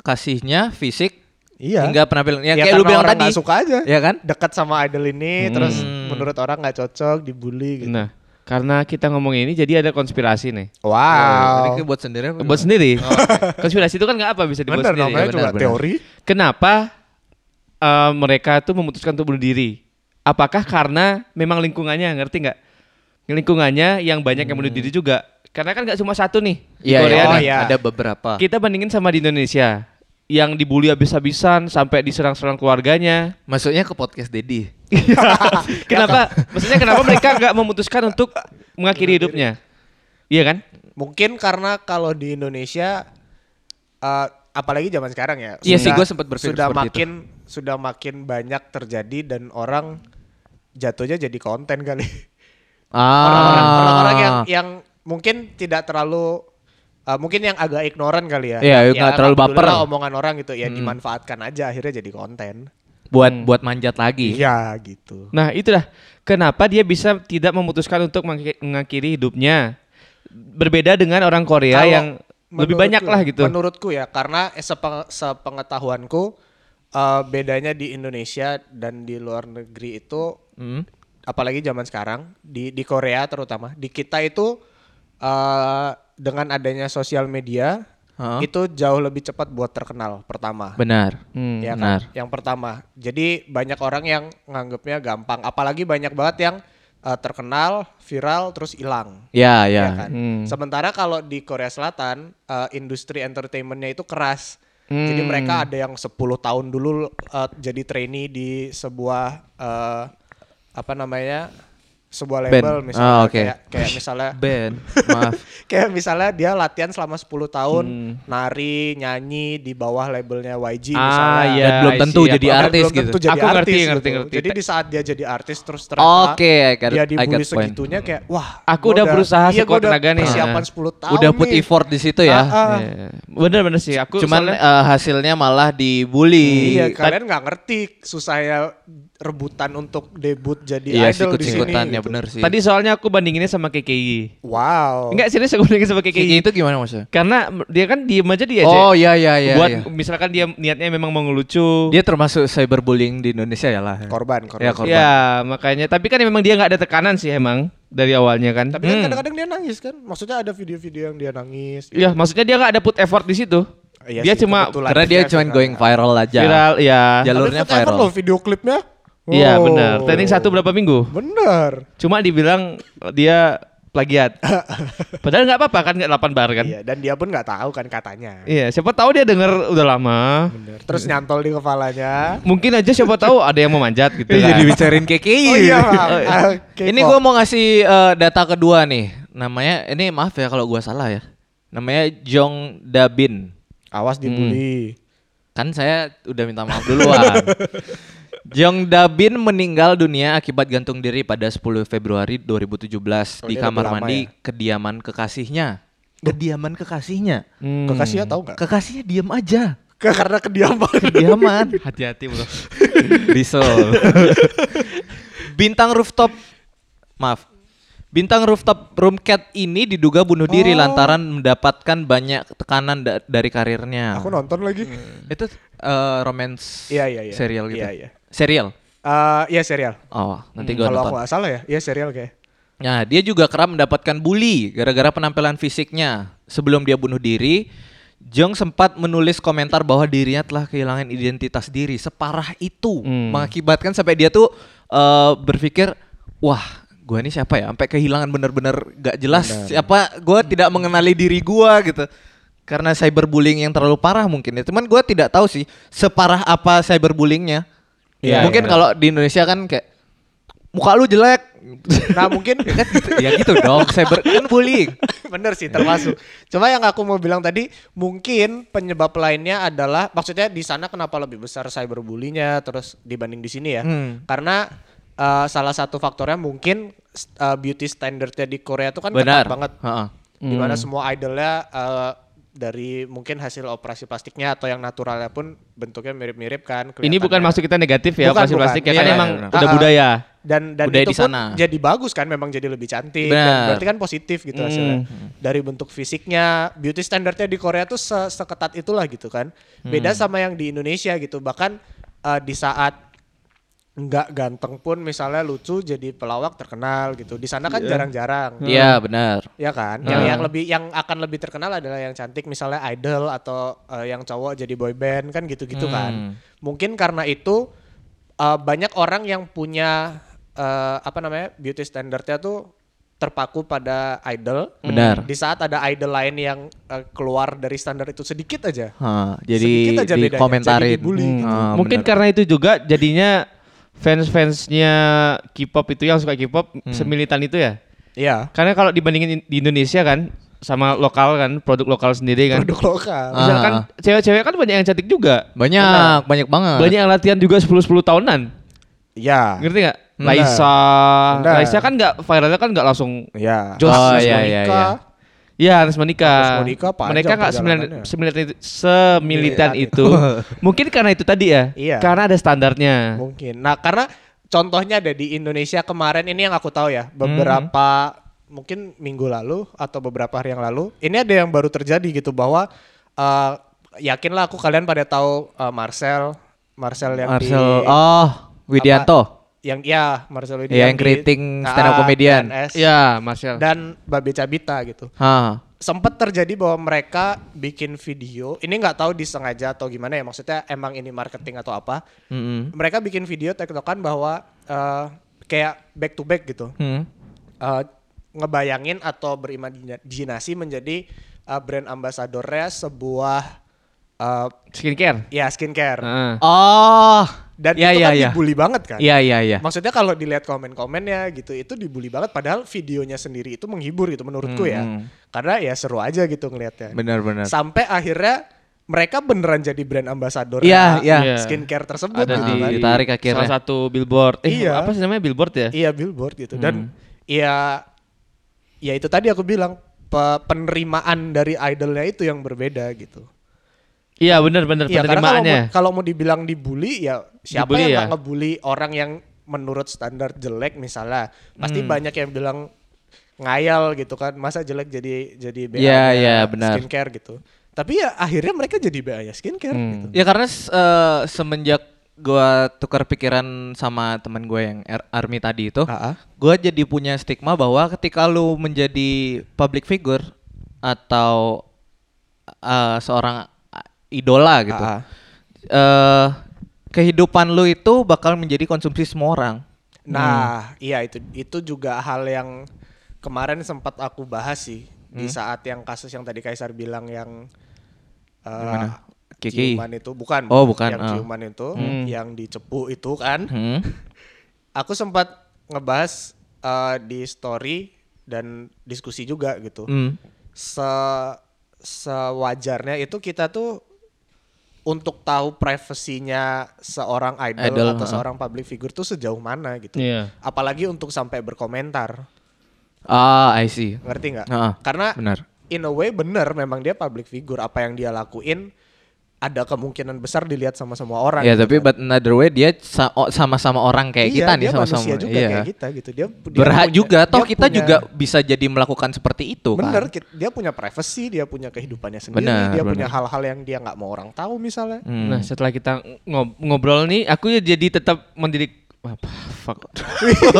[SPEAKER 1] kasihnya fisik
[SPEAKER 3] Iya.
[SPEAKER 1] hingga penampilan ya,
[SPEAKER 3] Ya,
[SPEAKER 1] kayak lu
[SPEAKER 3] karena
[SPEAKER 1] bilang
[SPEAKER 3] orang
[SPEAKER 1] tadi.
[SPEAKER 3] nggak suka aja.
[SPEAKER 1] Ya kan? Hmm.
[SPEAKER 3] Dekat sama idol ini, terus menurut orang nggak cocok, dibully gitu.
[SPEAKER 2] Nah, karena kita ngomong ini jadi ada konspirasi nih.
[SPEAKER 1] Tadi
[SPEAKER 3] Wow.
[SPEAKER 1] kayak buat sendiri apa
[SPEAKER 2] Buat
[SPEAKER 1] gimana? *laughs*
[SPEAKER 2] sendiri. konspirasi itu kan nggak apa bisa dibuat
[SPEAKER 3] Bener
[SPEAKER 2] sendiri.
[SPEAKER 3] namanya
[SPEAKER 2] Ya,
[SPEAKER 3] juga
[SPEAKER 2] benar, benar.
[SPEAKER 3] teori.
[SPEAKER 2] Kenapa eh, mereka tuh memutuskan untuk bunuh diri? Apakah karena memang lingkungannya ngerti nggak? Lingkungannya yang banyak yang bunuh diri juga. Karena kan nggak cuma satu nih
[SPEAKER 1] Hmm.
[SPEAKER 2] di
[SPEAKER 1] Iya,
[SPEAKER 2] Korea
[SPEAKER 1] iya,
[SPEAKER 3] Oh,
[SPEAKER 2] nih.
[SPEAKER 3] iya.
[SPEAKER 1] ada beberapa.
[SPEAKER 2] Kita bandingin sama di Indonesia yang dibully habis-habisan sampai diserang-serang keluarganya.
[SPEAKER 1] Maksudnya ke podcast Dedi.
[SPEAKER 2] *laughs* kenapa? maksudnya kenapa mereka nggak memutuskan untuk mengakhiri hidupnya? Iya kan?
[SPEAKER 3] Mungkin karena kalau di Indonesia eh, apalagi zaman sekarang ya.
[SPEAKER 1] Iya
[SPEAKER 3] sudah-
[SPEAKER 1] sih, gua sempat berpikir
[SPEAKER 3] sudah
[SPEAKER 1] seperti
[SPEAKER 3] makin sudah makin banyak terjadi dan orang jatuhnya jadi konten kali.
[SPEAKER 1] Ah.
[SPEAKER 3] Orang-orang orang-orang yang yang mungkin tidak terlalu eh, mungkin yang agak ignoran kali ya.
[SPEAKER 1] Iya, nggak terlalu baper. Hmm.
[SPEAKER 3] alhamdulillah omongan orang gitu ya dimanfaatkan aja akhirnya jadi konten.
[SPEAKER 1] buat buat manjat lagi.
[SPEAKER 3] Hmm. Iya, gitu.
[SPEAKER 2] Nah itulah kenapa dia bisa tidak memutuskan untuk mengaki- mengakhiri hidupnya. Berbeda dengan orang Korea
[SPEAKER 3] Kalau
[SPEAKER 2] yang lebih
[SPEAKER 3] menurutku
[SPEAKER 2] banyak
[SPEAKER 3] ya,
[SPEAKER 2] lah gitu.
[SPEAKER 3] Menurutku ya, karena eh, sepe- sepengetahuanku eh, bedanya di Indonesia dan di luar negeri itu
[SPEAKER 1] Hmm.
[SPEAKER 3] apalagi zaman sekarang di di Korea terutama, di kita itu eh dengan adanya sosial media
[SPEAKER 1] Heeh.
[SPEAKER 3] itu jauh lebih cepat buat terkenal pertama.
[SPEAKER 1] Benar.
[SPEAKER 2] Hmm.
[SPEAKER 3] ya
[SPEAKER 1] benar.
[SPEAKER 3] kan? Yang pertama. Jadi banyak orang yang nganggapnya gampang, apalagi banyak banget yang eh, terkenal, viral terus hilang.
[SPEAKER 1] Ya, ya.
[SPEAKER 3] ya kan?
[SPEAKER 2] Hmm.
[SPEAKER 3] Sementara kalau di Korea Selatan eh, industri entertainmentnya itu keras. Jadi
[SPEAKER 2] Hmm.
[SPEAKER 3] mereka ada yang 10 tahun dulu eh, jadi trainee di sebuah eh, apa namanya sebuah
[SPEAKER 1] Band.
[SPEAKER 3] label misalnya
[SPEAKER 1] Ah, oke.
[SPEAKER 3] kayak kayak misalnya *laughs*
[SPEAKER 1] Ben, maaf.
[SPEAKER 3] kayak misalnya dia latihan selama 10 tahun nari nyanyi di bawah labelnya YG misalnya.
[SPEAKER 2] Hmm. Ah, iya.
[SPEAKER 1] Dan belum
[SPEAKER 2] I
[SPEAKER 1] tentu
[SPEAKER 2] see.
[SPEAKER 1] jadi
[SPEAKER 2] Aku-
[SPEAKER 3] Dan
[SPEAKER 1] artis
[SPEAKER 3] belum tentu
[SPEAKER 1] gitu.
[SPEAKER 3] jadi
[SPEAKER 2] Aku ngerti,
[SPEAKER 3] artis
[SPEAKER 2] ngerti,
[SPEAKER 3] gitu.
[SPEAKER 2] ngerti.
[SPEAKER 3] Jadi di saat dia jadi artis terus ternyata
[SPEAKER 1] Oke, I got-
[SPEAKER 3] dia
[SPEAKER 1] I got
[SPEAKER 3] Iya, dibully
[SPEAKER 1] point. Hmm.
[SPEAKER 3] segitunya kayak wah.
[SPEAKER 2] Aku
[SPEAKER 3] gua
[SPEAKER 2] udah berusaha
[SPEAKER 3] iya, gua
[SPEAKER 2] sekuat
[SPEAKER 3] udah
[SPEAKER 2] tenaga nih.
[SPEAKER 3] Persiapan
[SPEAKER 2] Ah.
[SPEAKER 3] 10 tahun.
[SPEAKER 1] Udah put
[SPEAKER 3] nih.
[SPEAKER 1] effort di situ ya.
[SPEAKER 3] Ah, ah.
[SPEAKER 2] Iya. Bener-bener sih. Aku
[SPEAKER 1] Cuman
[SPEAKER 2] soalnya-
[SPEAKER 1] eh, hasilnya malah dibully.
[SPEAKER 3] Iya,
[SPEAKER 1] Kan-
[SPEAKER 3] kalian nggak ngerti susahnya rebutan untuk debut jadi
[SPEAKER 1] Iya,
[SPEAKER 3] idol di sini.
[SPEAKER 1] sikut-sikutan ya
[SPEAKER 3] gitu.
[SPEAKER 1] benar sih.
[SPEAKER 2] tadi soalnya aku bandinginnya sama KKI.
[SPEAKER 3] Wow.
[SPEAKER 2] Enggak serius aku bandingin sama
[SPEAKER 1] Kayak
[SPEAKER 2] KKI.
[SPEAKER 1] gitu gimana maksudnya?
[SPEAKER 2] Karena dia kan diem aja dia
[SPEAKER 1] Oh,
[SPEAKER 2] aja.
[SPEAKER 1] iya iya iya.
[SPEAKER 2] Buat
[SPEAKER 1] iya.
[SPEAKER 2] misalkan dia niatnya memang mau ngelucu.
[SPEAKER 1] Dia termasuk cyberbullying di Indonesia ya lah.
[SPEAKER 3] Korban, korban.
[SPEAKER 1] Ya, korban.
[SPEAKER 2] Ya makanya. Tapi kan memang dia nggak ada tekanan sih emang dari awalnya kan.
[SPEAKER 3] Tapi kan kadang-kadang dia nangis kan. Maksudnya ada video-video yang dia nangis.
[SPEAKER 2] Iya, maksudnya dia nggak ada put effort di situ.
[SPEAKER 3] Iya
[SPEAKER 2] dia
[SPEAKER 3] sih,
[SPEAKER 2] cuma
[SPEAKER 3] kebetulan.
[SPEAKER 1] Karena dia
[SPEAKER 3] kan.
[SPEAKER 1] cuma going viral aja.
[SPEAKER 2] viral, ya.
[SPEAKER 1] Jalur-
[SPEAKER 3] Tapi
[SPEAKER 1] Alurnya
[SPEAKER 3] forever
[SPEAKER 1] viral.
[SPEAKER 3] loh video klipnya.
[SPEAKER 2] Iya
[SPEAKER 3] Wow.
[SPEAKER 2] benar. Training satu berapa minggu?
[SPEAKER 3] Bener.
[SPEAKER 2] Cuma dibilang dia
[SPEAKER 3] *laughs*
[SPEAKER 2] plagiat. Padahal nggak apa-apa kan nggak 8 bar kan?
[SPEAKER 3] Iya, dan dia pun nggak tahu kan katanya.
[SPEAKER 2] Iya, siapa tahu dia denger udah lama.
[SPEAKER 3] Bener. Terus nyantol di kepalanya.
[SPEAKER 2] Mungkin aja siapa tahu ada yang mau manjat
[SPEAKER 1] Ini
[SPEAKER 2] gitu kan.
[SPEAKER 1] Iya, jadi bicarain KKI.
[SPEAKER 3] Iya. Oh iya, maaf. Ah, K-pop.
[SPEAKER 1] ini gua mau ngasih eh, data kedua nih. Namanya ini maaf ya kalau gua salah ya. Namanya Jong Dabin.
[SPEAKER 3] awas dibully.
[SPEAKER 1] Kan saya udah minta maaf
[SPEAKER 3] *laughs*
[SPEAKER 1] duluan. Jong Dabin meninggal dunia akibat gantung diri pada 10 Februari 2017
[SPEAKER 3] Oh,
[SPEAKER 1] di
[SPEAKER 3] ini udah
[SPEAKER 1] kamar
[SPEAKER 3] lama
[SPEAKER 1] mandi kediaman kekasihnya. Kediaman kekasihnya.
[SPEAKER 2] Hmm.
[SPEAKER 3] Kekasihnya tahu nggak?
[SPEAKER 1] Kekasihnya diam aja.
[SPEAKER 3] Ke- karena kediaman.
[SPEAKER 1] *laughs*
[SPEAKER 3] *laughs*
[SPEAKER 1] Kediaman.
[SPEAKER 2] Hati-hati bro.
[SPEAKER 1] Diesel. Bintang rooftop maaf. Bintang rooftop room cat ini diduga bunuh diri
[SPEAKER 3] Oh.
[SPEAKER 1] lantaran mendapatkan banyak tekanan da- dari karirnya.
[SPEAKER 3] Aku nonton lagi.
[SPEAKER 1] Itu eh, romance
[SPEAKER 3] Iya, iya, iya.
[SPEAKER 1] serial gitu.
[SPEAKER 3] Iya, iya.
[SPEAKER 1] Serial.
[SPEAKER 3] Eh, Iya serial.
[SPEAKER 1] Oh, nanti gua
[SPEAKER 3] Kalau aku
[SPEAKER 1] nonton.
[SPEAKER 3] nggak salah ya, iya serial kayak.
[SPEAKER 1] Nah, dia juga kerap mendapatkan bully gara-gara penampilan fisiknya. Sebelum dia bunuh diri, Jong sempat menulis komentar bahwa dirinya telah kehilangan identitas diri separah itu,
[SPEAKER 2] Hmm.
[SPEAKER 1] mengakibatkan sampai dia tuh eh, berpikir, wah, gua ini siapa ya? Sampai kehilangan bener-bener gak jelas siapa. Gua tidak mengenali diri gua gitu. Karena cyberbullying yang terlalu parah mungkin ya. Cuman gua tidak tahu sih separah apa cyberbullyingnya.
[SPEAKER 2] Iya,
[SPEAKER 1] mungkin
[SPEAKER 2] iya.
[SPEAKER 1] kalau di Indonesia kan kayak muka lu jelek *laughs*
[SPEAKER 3] Nah *laughs* mungkin
[SPEAKER 1] kan gitu, ya gitu dong cyber kan bullying
[SPEAKER 3] Bener sih termasuk. Cuma yang aku mau bilang tadi mungkin penyebab lainnya adalah maksudnya di sana kenapa lebih besar cyberbullying-nya terus dibanding di sini ya?
[SPEAKER 1] Hmm.
[SPEAKER 3] Karena uh, salah satu faktornya mungkin uh, beauty standardnya di Korea tuh kan
[SPEAKER 1] benar
[SPEAKER 3] ketat banget.
[SPEAKER 1] Heeh.
[SPEAKER 3] Dimana
[SPEAKER 1] Hmm.
[SPEAKER 3] semua idolnya uh, dari mungkin hasil operasi plastiknya atau yang naturalnya pun bentuknya mirip-mirip kan.
[SPEAKER 2] Ini bukan
[SPEAKER 3] kelihatannya.
[SPEAKER 2] maksud kita negatif
[SPEAKER 3] Bukan,
[SPEAKER 2] ya operasi
[SPEAKER 3] bukan.
[SPEAKER 2] plastik ya
[SPEAKER 1] Iya,
[SPEAKER 2] kan
[SPEAKER 1] iya,
[SPEAKER 2] emang
[SPEAKER 1] benar.
[SPEAKER 2] udah
[SPEAKER 3] Ah, ah.
[SPEAKER 2] budaya.
[SPEAKER 3] dan dan
[SPEAKER 1] Budaya
[SPEAKER 3] itu
[SPEAKER 1] di
[SPEAKER 3] pun
[SPEAKER 1] sana.
[SPEAKER 3] jadi bagus kan memang jadi lebih cantik
[SPEAKER 1] Benar.
[SPEAKER 3] dan berarti kan positif gitu hasilnya
[SPEAKER 2] Hmm.
[SPEAKER 3] dari bentuk fisiknya beauty standarnya di Korea tuh se- seketat itulah gitu kan
[SPEAKER 1] Hmm.
[SPEAKER 3] beda sama yang di Indonesia gitu bahkan eh, di saat nggak ganteng pun misalnya lucu jadi pelawak terkenal gitu di sana kan jarang-jarang
[SPEAKER 1] iya benar
[SPEAKER 3] ya kan yang
[SPEAKER 2] Hmm.
[SPEAKER 3] yang lebih yang akan lebih terkenal adalah yang cantik misalnya idol atau eh, yang cowok jadi boy band kan gitu-gitu
[SPEAKER 1] Hmm.
[SPEAKER 3] kan mungkin karena itu eh, banyak orang yang punya eh, apa namanya beauty standardnya tuh terpaku pada idol
[SPEAKER 1] Benar.
[SPEAKER 3] di saat ada idol lain yang eh, keluar dari standar itu sedikit aja
[SPEAKER 1] Heeh, jadi
[SPEAKER 3] Sedikit aja bedanya,
[SPEAKER 1] dikomentarin
[SPEAKER 3] jadi dibully gitu.
[SPEAKER 1] Heeh,
[SPEAKER 2] Mungkin
[SPEAKER 1] benar.
[SPEAKER 2] karena itu juga jadinya fans-fansnya K-pop itu yang suka K-pop
[SPEAKER 3] Hmm.
[SPEAKER 2] semilitan itu ya.
[SPEAKER 3] iya
[SPEAKER 2] Karena kalau dibandingin in- di Indonesia kan sama lokal kan produk lokal sendiri kan.
[SPEAKER 3] produk lokal
[SPEAKER 1] Ah.
[SPEAKER 2] Misalkan cewek-cewek kan banyak yang cantik juga.
[SPEAKER 1] banyak banyak
[SPEAKER 3] Ah.
[SPEAKER 1] banget
[SPEAKER 2] Banyak yang latihan juga 10-10 tahunan.
[SPEAKER 3] ya
[SPEAKER 2] Ngerti nggak?
[SPEAKER 3] Benar.
[SPEAKER 2] Laisa,
[SPEAKER 3] Benar.
[SPEAKER 2] Laisa kan nggak viralnya kan nggak langsung
[SPEAKER 3] ya
[SPEAKER 2] Jos,
[SPEAKER 1] Oh,
[SPEAKER 3] Agnes
[SPEAKER 1] iya,
[SPEAKER 3] Monica,
[SPEAKER 1] iya, iya.
[SPEAKER 2] Ya harus menikah.
[SPEAKER 3] Harus menikah, panjang
[SPEAKER 2] Mereka nggak semilitan,
[SPEAKER 3] perjalanannya.
[SPEAKER 2] semilitan itu, semilitan
[SPEAKER 3] Militan *laughs*
[SPEAKER 2] itu. Mungkin karena itu tadi ya.
[SPEAKER 3] Iya.
[SPEAKER 2] Karena ada standarnya.
[SPEAKER 3] Mungkin. Nah, karena contohnya ada di Indonesia kemarin ini yang aku tahu
[SPEAKER 1] Hmm.
[SPEAKER 3] ya, beberapa mungkin minggu lalu atau beberapa hari yang lalu, ini ada yang baru terjadi gitu bahwa eh, yakinlah aku kalian pada tahu eh, Marcel, Marcel yang
[SPEAKER 1] Marcel
[SPEAKER 3] di
[SPEAKER 1] oh Widianto
[SPEAKER 3] yang ya Marcel
[SPEAKER 1] Iya, yang
[SPEAKER 3] di-
[SPEAKER 1] keriting stand up
[SPEAKER 3] Ah,
[SPEAKER 1] comedian.
[SPEAKER 2] Ya,
[SPEAKER 3] PNS,
[SPEAKER 2] Iya, Marcel.
[SPEAKER 3] Dan Babe Cabita gitu.
[SPEAKER 1] Heeh.
[SPEAKER 3] sempat terjadi bahwa mereka bikin video ini nggak tahu disengaja atau gimana ya maksudnya emang ini marketing atau apa
[SPEAKER 1] Mm-mm.
[SPEAKER 3] mereka bikin video tektokan bahwa eh, kayak back to back gitu
[SPEAKER 1] Hmm.
[SPEAKER 3] Eh, ngebayangin atau berimajinasi menjadi eh, brand ambasadornya sebuah eh,
[SPEAKER 2] Skincare.
[SPEAKER 3] ya skincare
[SPEAKER 2] Heeh.
[SPEAKER 1] Oh,
[SPEAKER 3] dan
[SPEAKER 1] Ah. ya,
[SPEAKER 3] itu
[SPEAKER 1] ya,
[SPEAKER 3] kan
[SPEAKER 1] ya.
[SPEAKER 3] dibully banget kan
[SPEAKER 1] Iya iya iya.
[SPEAKER 3] Maksudnya kalau dilihat komen-komennya gitu itu dibully banget padahal videonya sendiri itu menghibur gitu menurutku ya.
[SPEAKER 1] Hmm.
[SPEAKER 3] Karena ya seru aja gitu ngelihatnya.
[SPEAKER 1] Benar benar.
[SPEAKER 3] Sampai akhirnya mereka beneran jadi brand ambassador
[SPEAKER 1] Iya iya.
[SPEAKER 2] Iya.
[SPEAKER 3] skincare tersebut
[SPEAKER 2] Ada
[SPEAKER 3] gitu
[SPEAKER 2] di
[SPEAKER 3] kan.
[SPEAKER 1] ditarik akhirnya.
[SPEAKER 2] salah satu billboard. Eh,
[SPEAKER 3] Iya.
[SPEAKER 2] apa sih namanya billboard ya? Hmm.
[SPEAKER 3] Iya billboard gitu dan ya ya itu tadi aku bilang pe- penerimaan dari idolnya itu yang berbeda gitu.
[SPEAKER 2] Iya, benar-benar
[SPEAKER 3] Iya karena kalau
[SPEAKER 2] penerimaannya.
[SPEAKER 3] mau, kalau mau dibilang dibully ya siapa
[SPEAKER 2] Dibully
[SPEAKER 3] yang
[SPEAKER 2] ya?
[SPEAKER 3] nggak ngebully orang yang menurut standar jelek misalnya pasti
[SPEAKER 2] Hmm.
[SPEAKER 3] banyak yang bilang ngayal gitu kan masa jelek jadi jadi BA
[SPEAKER 1] Iya,
[SPEAKER 3] -nya
[SPEAKER 1] iya, benar.
[SPEAKER 3] skincare gitu tapi ya akhirnya mereka jadi BA -nya skincare
[SPEAKER 2] Hmm.
[SPEAKER 3] gitu
[SPEAKER 2] Iya.
[SPEAKER 1] Ya karena s- eh, semenjak gua tukar pikiran sama teman gue yang R- army tadi itu,
[SPEAKER 3] Ah, ah.
[SPEAKER 1] gua jadi punya stigma bahwa ketika lu menjadi public figure atau eh, seorang idola gitu,
[SPEAKER 3] Ah, ah.
[SPEAKER 1] eh, kehidupan lu itu bakal menjadi konsumsi semua orang. Hmm.
[SPEAKER 3] nah iya itu itu juga hal yang kemarin sempat aku bahas sih di
[SPEAKER 1] Hmm?
[SPEAKER 3] saat yang kasus yang tadi Kaisar bilang yang eh,
[SPEAKER 1] Gimana? Kiki?
[SPEAKER 3] ciuman itu bukan
[SPEAKER 1] Oh, bukan,
[SPEAKER 3] yang
[SPEAKER 1] ah.
[SPEAKER 3] ciuman itu yang dicepu itu kan
[SPEAKER 1] Hmm.
[SPEAKER 3] aku sempat ngebahas eh, di story dan diskusi juga gitu.
[SPEAKER 1] Hmm.
[SPEAKER 3] Se sewajarnya itu kita tuh untuk tahu privasinya seorang idol,
[SPEAKER 1] Idol, ah.
[SPEAKER 3] atau
[SPEAKER 1] heeh.
[SPEAKER 3] seorang public figure tuh sejauh mana gitu.
[SPEAKER 2] Iya.
[SPEAKER 3] Apalagi untuk sampai berkomentar.
[SPEAKER 1] Ah, I see.
[SPEAKER 3] Ngerti nggak?
[SPEAKER 1] Heeh.
[SPEAKER 3] Karena
[SPEAKER 1] Benar.
[SPEAKER 3] in a way bener memang dia public figure apa yang dia lakuin ada kemungkinan besar dilihat sama semua orang.
[SPEAKER 1] Ya
[SPEAKER 3] gitu
[SPEAKER 1] tapi
[SPEAKER 3] kan.
[SPEAKER 1] but another way dia sa- o- sama-sama orang kayak
[SPEAKER 3] Iya,
[SPEAKER 1] kita nih
[SPEAKER 3] dia
[SPEAKER 1] sama-sama.
[SPEAKER 3] manusia juga
[SPEAKER 1] Iya.
[SPEAKER 3] kayak kita gitu. Dia, dia
[SPEAKER 1] Berhak
[SPEAKER 3] punya-
[SPEAKER 1] juga toh
[SPEAKER 3] dia
[SPEAKER 1] kita
[SPEAKER 3] punya-
[SPEAKER 1] juga bisa jadi melakukan seperti itu *laughs* kan.
[SPEAKER 3] Bener, ki- dia punya privacy, dia punya kehidupannya sendiri,
[SPEAKER 1] Bener,
[SPEAKER 3] dia
[SPEAKER 1] bener.
[SPEAKER 3] punya hal-hal yang dia nggak mau orang tahu misalnya.
[SPEAKER 1] Hmm.
[SPEAKER 2] Nah, setelah kita ngob- ngobrol nih, aku ya jadi tetap mendidik apa fuck.
[SPEAKER 3] *laughs*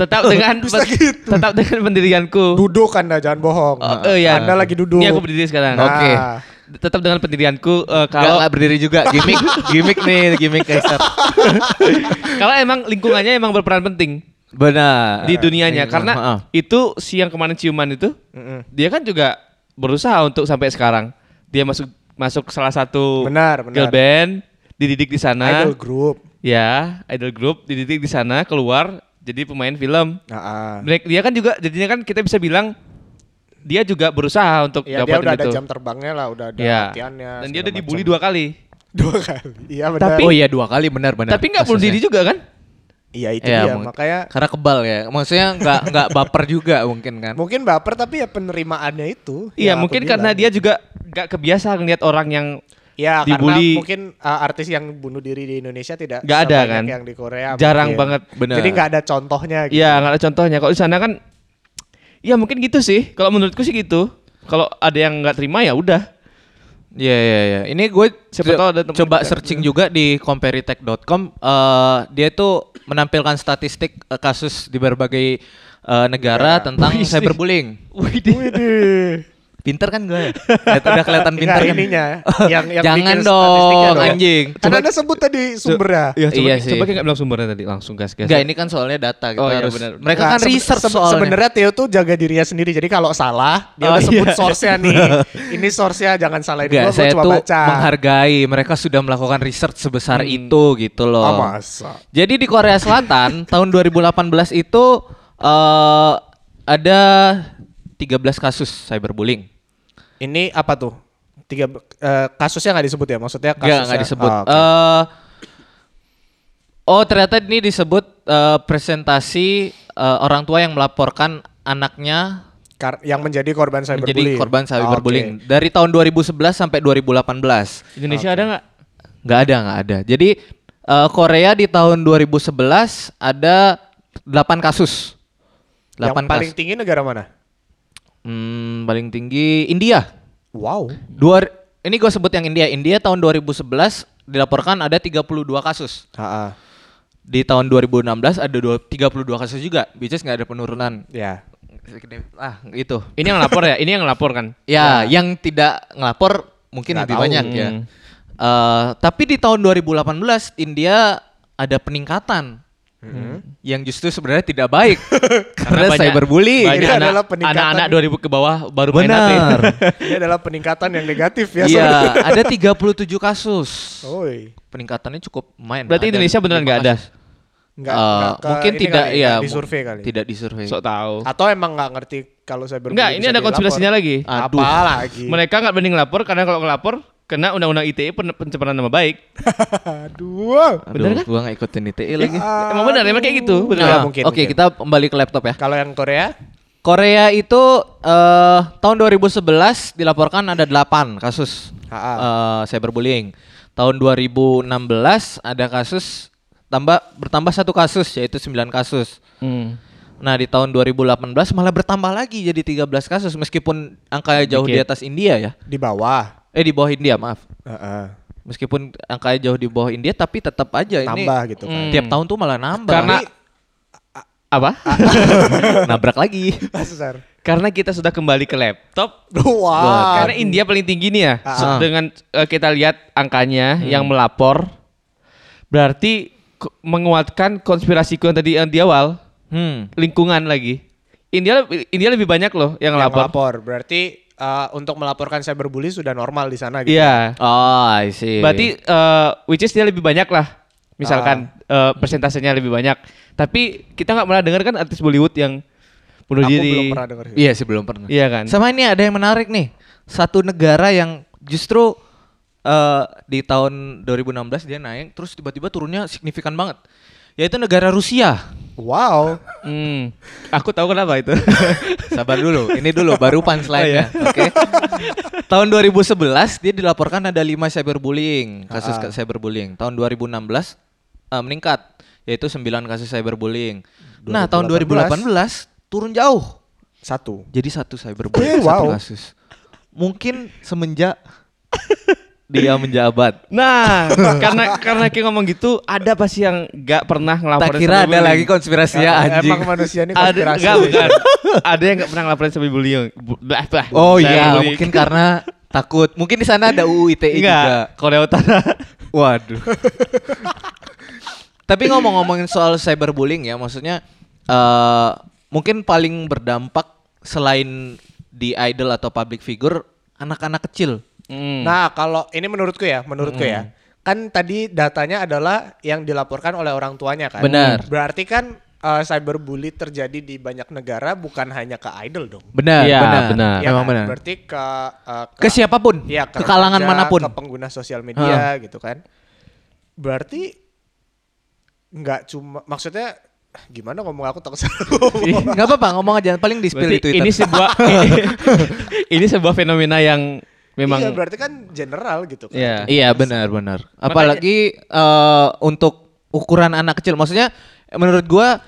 [SPEAKER 2] tetap dengan
[SPEAKER 3] Bisa gitu.
[SPEAKER 2] tetap dengan pendirianku.
[SPEAKER 3] Duduk anda jangan bohong.
[SPEAKER 2] Oh, eh, iya.
[SPEAKER 3] Anda lagi duduk.
[SPEAKER 2] Ini aku berdiri sekarang.
[SPEAKER 3] Nah,
[SPEAKER 1] Oke.
[SPEAKER 2] Tetap dengan pendirianku
[SPEAKER 1] Nggak,
[SPEAKER 2] eh, kalau
[SPEAKER 1] nggak berdiri juga gimmick gimmick nih gimmick
[SPEAKER 3] *laughs*
[SPEAKER 1] Kaisar.
[SPEAKER 2] kalau emang lingkungannya emang berperan penting
[SPEAKER 1] Benar.
[SPEAKER 2] di dunianya karena
[SPEAKER 1] iya, Heeh.
[SPEAKER 2] itu si yang kemarin ciuman itu
[SPEAKER 3] Mm-mm.
[SPEAKER 2] dia kan juga berusaha untuk sampai sekarang dia masuk masuk salah satu
[SPEAKER 3] Benar, benar.
[SPEAKER 2] girl band dididik
[SPEAKER 1] Nah.
[SPEAKER 2] di sana
[SPEAKER 3] Idol group.
[SPEAKER 2] ya idol group dididik di sana keluar jadi pemain film
[SPEAKER 3] Nah, ah.
[SPEAKER 2] Mereka- dia kan juga jadinya kan kita bisa bilang dia juga berusaha untuk
[SPEAKER 3] Ya, dia
[SPEAKER 2] dapetin
[SPEAKER 3] udah ada
[SPEAKER 2] itu
[SPEAKER 3] jam terbangnya lah, udah ada
[SPEAKER 1] Iya.
[SPEAKER 2] ya
[SPEAKER 3] latihannya.
[SPEAKER 2] dan dia
[SPEAKER 3] segala
[SPEAKER 2] udah dibully
[SPEAKER 3] macam.
[SPEAKER 2] dua kali
[SPEAKER 3] dua kali. Iya benar.
[SPEAKER 1] oh iya dua kali benar-benar.
[SPEAKER 2] tapi nggak bunuh diri juga kan
[SPEAKER 3] iya itu
[SPEAKER 1] Ya,
[SPEAKER 3] dia.
[SPEAKER 1] mungkin.
[SPEAKER 3] Makanya
[SPEAKER 1] Karena kebal ya. Maksudnya nggak nggak baper juga mungkin kan.
[SPEAKER 3] mungkin baper tapi ya penerimaannya itu.
[SPEAKER 2] iya
[SPEAKER 3] yang aku
[SPEAKER 2] mungkin karena
[SPEAKER 3] bilang.
[SPEAKER 2] dia juga nggak kebiasa ngelihat orang yang
[SPEAKER 3] Ya karena
[SPEAKER 2] dibully.
[SPEAKER 3] mungkin uh, artis yang bunuh diri di Indonesia tidak
[SPEAKER 2] Nggak ada,
[SPEAKER 3] sebanyak
[SPEAKER 2] kan?
[SPEAKER 3] yang di Korea mungkin.
[SPEAKER 2] Jarang banget,
[SPEAKER 1] benar.
[SPEAKER 3] jadi nggak ada contohnya gitu
[SPEAKER 2] Iya, nggak ada contohnya. Kalau di sana kan, ya mungkin gitu sih. Kalau menurutku sih gitu. Kalau ada yang nggak terima ya udah.
[SPEAKER 1] Iya iya iya. Ini gue
[SPEAKER 2] Siapa
[SPEAKER 1] co-
[SPEAKER 2] tahu ada teman
[SPEAKER 1] coba
[SPEAKER 2] kita.
[SPEAKER 1] searching juga di comparitech.com eh dia tuh menampilkan statistik eh, kasus di berbagai eh, negara tentang
[SPEAKER 2] Iya. Wih, sih.
[SPEAKER 1] cyberbullying.
[SPEAKER 2] Widih. *laughs*
[SPEAKER 1] Pinter kan gue? Ya, udah kelihatan
[SPEAKER 2] Iya,
[SPEAKER 1] pinter
[SPEAKER 3] Nggak,
[SPEAKER 1] kan?
[SPEAKER 3] ininya
[SPEAKER 2] ya.
[SPEAKER 1] *laughs*
[SPEAKER 3] yang yang
[SPEAKER 1] Jangan
[SPEAKER 3] bikin statistiknya
[SPEAKER 1] dong, anjing.
[SPEAKER 3] Kan Anda sebut tadi sumbernya.
[SPEAKER 2] Iya, coba,
[SPEAKER 1] Iya
[SPEAKER 2] coba
[SPEAKER 1] sih.
[SPEAKER 2] kayak nggak bilang sumbernya tadi langsung gas gas.
[SPEAKER 1] Enggak, ini kan soalnya data kita
[SPEAKER 2] Oh, iya,
[SPEAKER 1] harus.
[SPEAKER 2] benar.
[SPEAKER 1] Mereka
[SPEAKER 3] Nah,
[SPEAKER 1] kan
[SPEAKER 3] sebe-
[SPEAKER 1] research
[SPEAKER 3] sebe-
[SPEAKER 1] soalnya.
[SPEAKER 3] Sebenarnya Theo tuh jaga dirinya sendiri. Jadi kalau salah, dia
[SPEAKER 2] Oh,
[SPEAKER 3] udah sebut
[SPEAKER 2] iya.
[SPEAKER 3] source-nya
[SPEAKER 2] *laughs*
[SPEAKER 3] nih. Ini source-nya jangan salahin
[SPEAKER 1] Enggak,
[SPEAKER 3] gua, gua
[SPEAKER 1] saya
[SPEAKER 3] cuma
[SPEAKER 1] tuh
[SPEAKER 3] baca. Hmm.
[SPEAKER 1] menghargai mereka sudah melakukan research sebesar itu gitu loh.
[SPEAKER 3] Ah, masa?
[SPEAKER 1] Jadi di Korea
[SPEAKER 3] *laughs*
[SPEAKER 1] Selatan tahun 2018 itu eh ada 13 kasus cyberbullying.
[SPEAKER 3] Ini apa tuh? Tiga eh, kasusnya nggak disebut ya? Maksudnya kasusnya
[SPEAKER 1] Enggak, enggak disebut.
[SPEAKER 3] Ah,
[SPEAKER 1] Eh
[SPEAKER 3] oke.
[SPEAKER 1] oh, ternyata ini disebut eh, presentasi eh, orang tua yang melaporkan anaknya
[SPEAKER 3] Kar- yang menjadi korban
[SPEAKER 1] menjadi
[SPEAKER 3] cyberbullying. Ah,
[SPEAKER 1] korban cyberbullying
[SPEAKER 3] Oke.
[SPEAKER 1] dari tahun 2011 sampai 2018.
[SPEAKER 2] Indonesia ada nggak?
[SPEAKER 1] Nggak ada, nggak ada. Jadi eh, Korea di tahun 2011 ada 8 kasus. 8
[SPEAKER 3] Yang paling
[SPEAKER 1] kasus.
[SPEAKER 3] tinggi negara mana?
[SPEAKER 1] Hmm, paling tinggi India.
[SPEAKER 3] Wow.
[SPEAKER 1] Dua ini gue sebut yang India. India tahun 2011 dilaporkan ada 32 kasus.
[SPEAKER 3] Ha-ha.
[SPEAKER 1] Di tahun 2016 ada dua- 32 kasus juga, which is nggak ada penurunan.
[SPEAKER 3] Ya. *laughs*
[SPEAKER 1] ah itu
[SPEAKER 2] Ini yang lapor ya? Ini yang lapor kan?
[SPEAKER 1] ya yang tidak ngelapor mungkin
[SPEAKER 3] Nggak
[SPEAKER 1] lebih
[SPEAKER 3] tahu.
[SPEAKER 1] banyak ya
[SPEAKER 2] Hmm.
[SPEAKER 1] Eh, tapi di tahun 2018 India ada peningkatan yang justru sebenarnya tidak baik karena,
[SPEAKER 2] banyak-
[SPEAKER 1] cyberbullying
[SPEAKER 2] Banyak
[SPEAKER 3] Ini
[SPEAKER 2] anak,
[SPEAKER 3] adalah peningkatan.
[SPEAKER 2] anak-anak 2000 ke bawah baru main
[SPEAKER 1] Kan- benar
[SPEAKER 2] HP.
[SPEAKER 3] Ini adalah peningkatan yang negatif ya.
[SPEAKER 1] iya ada 37 kasus
[SPEAKER 3] sorry. Oi.
[SPEAKER 1] peningkatannya cukup main Ada
[SPEAKER 2] Berarti Indonesia beneran
[SPEAKER 1] lima
[SPEAKER 2] nggak ada?
[SPEAKER 1] kasus.
[SPEAKER 3] Nggak,
[SPEAKER 1] Eh,
[SPEAKER 3] nggak ke
[SPEAKER 1] mungkin
[SPEAKER 3] ini
[SPEAKER 1] tidak
[SPEAKER 3] kali,
[SPEAKER 2] iya,
[SPEAKER 1] ya
[SPEAKER 3] nggak
[SPEAKER 1] mu-
[SPEAKER 3] disurvei kali.
[SPEAKER 1] tidak disurvei
[SPEAKER 2] Sok tahu.
[SPEAKER 3] Atau emang nggak ngerti kalau cyberbullying
[SPEAKER 2] Enggak, ini
[SPEAKER 3] bisa
[SPEAKER 2] ada konspirasinya
[SPEAKER 3] dilapor.
[SPEAKER 2] lagi.
[SPEAKER 1] Aduh.
[SPEAKER 3] Apa lagi?
[SPEAKER 2] Mereka nggak mending lapor karena kalau ngelapor kena undang-undang ITE pen- pencemaran nama baik.
[SPEAKER 3] Aduh.
[SPEAKER 1] Aduh, gua nggak ikutin ITE
[SPEAKER 3] Iya.
[SPEAKER 1] lagi.
[SPEAKER 2] Emang benar, emang kayak gitu.
[SPEAKER 3] Aduh.
[SPEAKER 2] Benar.
[SPEAKER 3] Nggak
[SPEAKER 1] Nah,
[SPEAKER 3] mungkin,
[SPEAKER 1] Oke,
[SPEAKER 3] mungkin.
[SPEAKER 1] kita kembali ke laptop ya.
[SPEAKER 3] Kalau yang Korea,
[SPEAKER 1] Korea itu eh, tahun 2011 dilaporkan ada 8 kasus eh, cyberbullying. Tahun 2016 ada kasus tambah bertambah satu kasus yaitu 9 kasus.
[SPEAKER 2] Hmm.
[SPEAKER 1] Nah, di tahun 2018 malah bertambah lagi jadi 13 kasus meskipun angkanya jauh di
[SPEAKER 2] Dikit.
[SPEAKER 1] atas India ya.
[SPEAKER 3] di bawah.
[SPEAKER 1] Eh di bawah India, maaf.
[SPEAKER 3] Heeh.
[SPEAKER 1] Meskipun angkanya jauh di bawah India tapi tetap aja
[SPEAKER 3] Tambah
[SPEAKER 1] ini
[SPEAKER 3] gitu kan.
[SPEAKER 1] tiap tahun tuh malah nambah.
[SPEAKER 2] Karena apa?
[SPEAKER 3] *laughs*
[SPEAKER 1] nabrak lagi.
[SPEAKER 3] Sesar.
[SPEAKER 2] *laughs* karena kita sudah kembali ke laptop.
[SPEAKER 3] Wah.
[SPEAKER 2] Karena India paling tinggi nih ya.
[SPEAKER 3] Ah. Hmm.
[SPEAKER 2] So, Dengan eh, kita lihat angkanya yang melapor berarti k- menguatkan konspirasiku yang tadi yang di awal,
[SPEAKER 1] Hmm.
[SPEAKER 2] lingkungan lagi. India lebih- India lebih banyak loh yang,
[SPEAKER 3] Yang
[SPEAKER 2] lapor.
[SPEAKER 3] lapor. Berarti eh, untuk melaporkan cyberbully sudah normal di sana gitu.
[SPEAKER 2] Iya.
[SPEAKER 1] Oh, I see.
[SPEAKER 2] Berarti eh, which is dia lebih banyak lah. Misalkan
[SPEAKER 3] Ah.
[SPEAKER 2] eh, persentasenya lebih banyak. Tapi kita nggak pernah dengar kan artis Bollywood yang bunuh
[SPEAKER 3] Aku
[SPEAKER 2] diri.
[SPEAKER 3] belum pernah dengar. sih.
[SPEAKER 1] Iya sih belum pernah.
[SPEAKER 2] Iya kan?
[SPEAKER 1] Sama ini ada yang menarik nih. Satu negara yang justru eh, di tahun 2016 dia naik terus tiba-tiba turunnya signifikan banget. Yaitu negara Rusia.
[SPEAKER 3] Wow.
[SPEAKER 2] Hmm. Aku tahu kenapa
[SPEAKER 3] *laughs*
[SPEAKER 2] itu.
[SPEAKER 1] *laughs* Sabar dulu, ini dulu baru punchline-nya, oke. Oh, iya. *laughs* Tahun 2011 dia dilaporkan ada 5 cyberbullying, kasus ke- cyberbullying. Tahun 2016 eh, meningkat yaitu 9 kasus cyberbullying. Nah, tahun 2018 turun jauh.
[SPEAKER 3] Satu.
[SPEAKER 1] Jadi satu cyberbullying
[SPEAKER 3] Eh,
[SPEAKER 1] satu
[SPEAKER 3] wow.
[SPEAKER 1] kasus. Mungkin semenjak dia menjabat.
[SPEAKER 2] nah, karena karena kayak ngomong gitu, ada pasti yang nggak pernah ngelaporin.
[SPEAKER 1] Tak kira
[SPEAKER 2] cyberbullying.
[SPEAKER 1] ada lagi konspirasinya Iya, anjing.
[SPEAKER 3] Emang manusia ini
[SPEAKER 2] *laughs* Ada
[SPEAKER 3] konspirasi.
[SPEAKER 2] nggak, bukan. ada yang nggak pernah ngelaporin sampai bullying. Bu- Blah, blah.
[SPEAKER 1] Oh
[SPEAKER 2] Saya
[SPEAKER 1] iya,
[SPEAKER 2] bullying.
[SPEAKER 1] mungkin karena takut. Mungkin di sana ada UU ITE
[SPEAKER 2] Nggak,
[SPEAKER 1] E juga.
[SPEAKER 2] Korea Utara.
[SPEAKER 1] Waduh. Tapi ngomong-ngomongin soal cyberbullying ya, maksudnya eh mungkin paling berdampak selain di idol atau public figure anak-anak kecil.
[SPEAKER 2] Hmm.
[SPEAKER 3] Nah, kalau ini menurutku ya, menurutku ya. Kan tadi datanya adalah yang dilaporkan oleh orang tuanya kan.
[SPEAKER 1] Benar.
[SPEAKER 3] Berarti kan eh, cyberbully terjadi di banyak negara bukan hanya ke idol dong.
[SPEAKER 1] Benar,
[SPEAKER 2] Iya,
[SPEAKER 1] benar.
[SPEAKER 2] benar.
[SPEAKER 3] Iya
[SPEAKER 1] Memang
[SPEAKER 3] kan?
[SPEAKER 1] benar.
[SPEAKER 3] Berarti ke eh,
[SPEAKER 1] Ke siapapun,
[SPEAKER 3] Iya,
[SPEAKER 1] ke kalangan
[SPEAKER 3] remaja,
[SPEAKER 1] manapun.
[SPEAKER 3] ke pengguna sosial media gitu kan. Berarti nggak cuma maksudnya gimana ngomong aku takut salah ngomong.
[SPEAKER 1] Enggak apa-apa, ngomong aja paling di spill di
[SPEAKER 2] Berarti
[SPEAKER 1] Twitter.
[SPEAKER 2] ini
[SPEAKER 1] *laughs*
[SPEAKER 2] sebuah ini, ini sebuah fenomena yang memang
[SPEAKER 3] Iya, berarti kan general gitu kan.
[SPEAKER 2] Iya.
[SPEAKER 1] Iya benar benar. Apalagi eh, untuk ukuran anak kecil, maksudnya menurut gua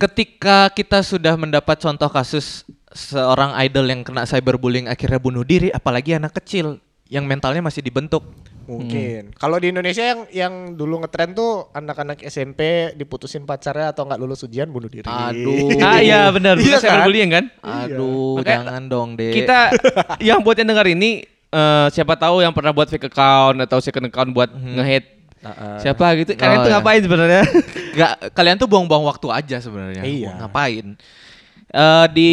[SPEAKER 1] ketika kita sudah mendapat contoh kasus seorang idol yang kena cyberbullying akhirnya bunuh diri, apalagi anak kecil yang mentalnya masih dibentuk.
[SPEAKER 3] Mungkin. Kalau di Indonesia yang yang dulu ngetren tuh anak-anak SMP diputusin pacarnya atau nggak lulus ujian bunuh diri.
[SPEAKER 1] Aduh.
[SPEAKER 2] Ah iya benar,
[SPEAKER 3] Iya
[SPEAKER 2] bukan
[SPEAKER 3] kan?
[SPEAKER 2] cyberbullying kan?
[SPEAKER 1] Aduh,
[SPEAKER 2] Makanya
[SPEAKER 1] jangan dong, Dek.
[SPEAKER 2] Kita yang buat yang dengar ini eh, siapa tahu yang pernah buat fake account atau second account buat nge-hate siapa gitu. Kalian
[SPEAKER 1] Hmm. Oh,
[SPEAKER 2] tuh
[SPEAKER 1] iya.
[SPEAKER 2] ngapain sebenarnya?
[SPEAKER 1] *laughs* Gak, kalian tuh buang-buang waktu aja sebenarnya.
[SPEAKER 3] Iya.
[SPEAKER 1] Mau Ngapain? Eh, di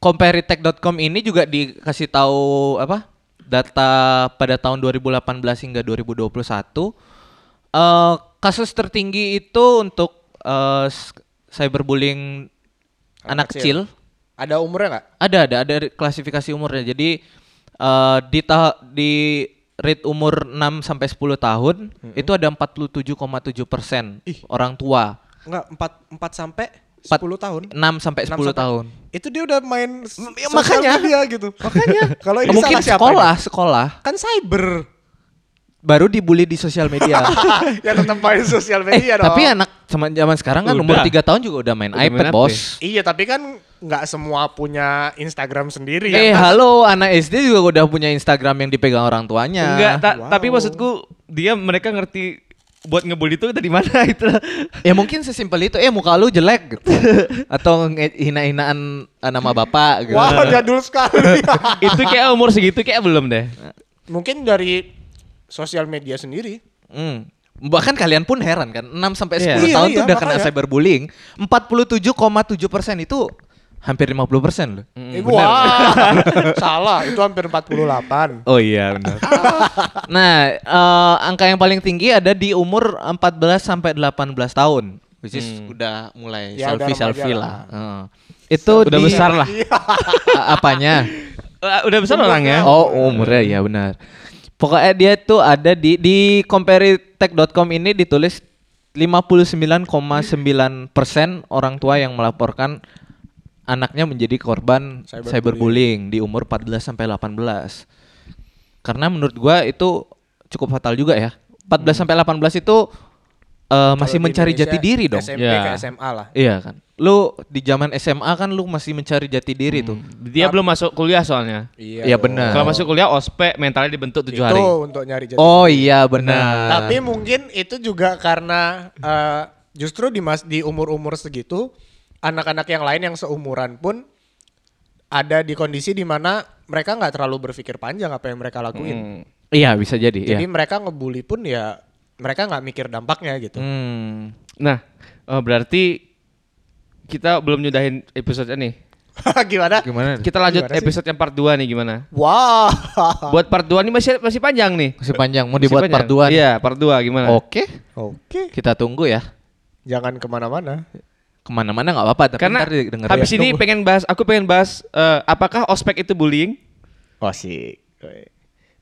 [SPEAKER 1] comparitech.com ini juga dikasih tahu apa? Data pada tahun 2018 hingga 2021 eh kasus tertinggi itu untuk eh, s- cyberbullying anak, kecil.
[SPEAKER 3] Ada umurnya nggak?
[SPEAKER 1] Ada ada ada klasifikasi umurnya. Jadi eh, di ta- di rate umur 6 sampai 10 tahun itu ada 47,7% orang tua.
[SPEAKER 3] Nggak empat empat sampai
[SPEAKER 1] Empat.
[SPEAKER 3] 10 tahun.
[SPEAKER 1] 6 sampai 10
[SPEAKER 3] Enam sampai-
[SPEAKER 1] tahun.
[SPEAKER 3] Itu dia udah main s-
[SPEAKER 1] ya
[SPEAKER 3] sosial
[SPEAKER 1] makanya.
[SPEAKER 3] media gitu. Makanya. *laughs* Kalau ini
[SPEAKER 1] Mungkin
[SPEAKER 3] salah siapa
[SPEAKER 1] sekolah,
[SPEAKER 3] ini?
[SPEAKER 1] sekolah
[SPEAKER 3] Kan *laughs* cyber.
[SPEAKER 1] baru dibully di sosial
[SPEAKER 3] *laughs*
[SPEAKER 1] media.
[SPEAKER 3] ya tetap main sosial
[SPEAKER 1] eh,
[SPEAKER 3] media Iya dong.
[SPEAKER 1] tapi anak zaman zaman sekarang kan umur
[SPEAKER 2] Udah.
[SPEAKER 1] 3 tahun juga udah main
[SPEAKER 2] Udah main ya?
[SPEAKER 1] iPad,
[SPEAKER 2] HP.
[SPEAKER 1] Bos.
[SPEAKER 3] Iya, tapi kan nggak semua punya Instagram sendiri
[SPEAKER 1] Eh,
[SPEAKER 3] ya.
[SPEAKER 1] halo, anak SD Iya. juga udah punya Instagram yang dipegang orang tuanya.
[SPEAKER 2] Enggak, ta-
[SPEAKER 3] Wow.
[SPEAKER 2] tapi maksudku dia mereka ngerti buat ngebully itu dari mana *laughs* itu
[SPEAKER 1] ya mungkin sesimpel itu eh muka lu jelek
[SPEAKER 3] *laughs*
[SPEAKER 1] gitu. atau nge- hina-hinaan eh, nama bapak gitu.
[SPEAKER 3] Wah, jadul
[SPEAKER 1] *laughs*
[SPEAKER 3] sekali.
[SPEAKER 2] itu kayak umur segitu kayak belum deh
[SPEAKER 3] Mungkin dari sosial media sendiri.
[SPEAKER 1] Hmm. Bahkan kalian pun heran kan 6 sampai 10
[SPEAKER 2] Iya.
[SPEAKER 3] Iya,
[SPEAKER 1] tahun
[SPEAKER 3] iya,
[SPEAKER 1] tuh udah kena
[SPEAKER 3] makanya.
[SPEAKER 1] cyberbullying 47,7% itu hampir 50% loh.
[SPEAKER 3] Eh, Wah,
[SPEAKER 1] *laughs*
[SPEAKER 3] salah. Itu hampir 48.
[SPEAKER 1] Oh iya benar. nah, eh, angka yang paling tinggi ada di umur 14 sampai 18 tahun, which is
[SPEAKER 2] Hmm.
[SPEAKER 1] udah mulai
[SPEAKER 3] Ya, udah
[SPEAKER 1] selfie selfie
[SPEAKER 3] remaja
[SPEAKER 1] lah. Eh, Itu
[SPEAKER 2] Udah
[SPEAKER 1] di-
[SPEAKER 2] besar lah.
[SPEAKER 1] *laughs* a- apanya?
[SPEAKER 2] Eh, udah besar orangnya
[SPEAKER 1] Oh, umurnya ya benar. Pokoknya dia tuh ada di di comparitech.com ini ditulis 59,9% orang tua yang melaporkan anaknya menjadi korban cyberbullying,
[SPEAKER 3] Cyberbullying.
[SPEAKER 1] di umur 14 sampai 18. Karena menurut gua itu cukup fatal juga ya. 14 sampai 18 itu eh, masih
[SPEAKER 3] Kalau di
[SPEAKER 1] mencari
[SPEAKER 3] Indonesia,
[SPEAKER 1] jati diri dong.
[SPEAKER 3] SMP
[SPEAKER 2] Ya.
[SPEAKER 3] ke SMA lah.
[SPEAKER 1] Iya kan. Lu di zaman SMA kan lu masih mencari jati diri tuh.
[SPEAKER 3] Hmm.
[SPEAKER 2] dia belum masuk kuliah soalnya
[SPEAKER 3] Iya,
[SPEAKER 1] Iya,
[SPEAKER 3] dong.
[SPEAKER 1] benar.
[SPEAKER 2] kalau masuk kuliah ospek mentalnya dibentuk tujuh hari
[SPEAKER 3] Itu untuk nyari jati
[SPEAKER 1] Oh iya benar.
[SPEAKER 3] Tapi mungkin itu juga karena eh, justru di mas di umur-umur segitu anak-anak yang lain yang seumuran pun ada di kondisi di mana mereka nggak terlalu berpikir panjang apa yang mereka lakuin.
[SPEAKER 2] Hmm.
[SPEAKER 1] Iya bisa jadi.
[SPEAKER 3] Jadi
[SPEAKER 1] iya.
[SPEAKER 3] mereka ngebully pun ya mereka nggak mikir dampaknya gitu.
[SPEAKER 1] Hmm.
[SPEAKER 2] nah eh, berarti kita belum nyudahin episode nih
[SPEAKER 3] *laughs* Gimana?
[SPEAKER 1] Gimana?
[SPEAKER 2] kita lanjut
[SPEAKER 3] Gimana sih?
[SPEAKER 2] episode yang part 2 nih gimana
[SPEAKER 3] Wah.
[SPEAKER 2] buat part 2 ini masih masih panjang nih
[SPEAKER 1] Masih panjang mau
[SPEAKER 2] Masih
[SPEAKER 1] dibuat
[SPEAKER 2] panjang.
[SPEAKER 1] part 2.
[SPEAKER 2] iya part 2 gimana
[SPEAKER 1] Oke,
[SPEAKER 3] Oke.
[SPEAKER 1] kita tunggu ya.
[SPEAKER 3] Jangan kemana-mana.
[SPEAKER 1] Kemana-mana nggak apa-apa, tapi
[SPEAKER 2] Karena
[SPEAKER 1] ntar ya. didengerin.
[SPEAKER 2] habis ini pengen bahas, aku pengen bahas eh, apakah ospek itu bullying?
[SPEAKER 1] Oh,
[SPEAKER 3] Wasik.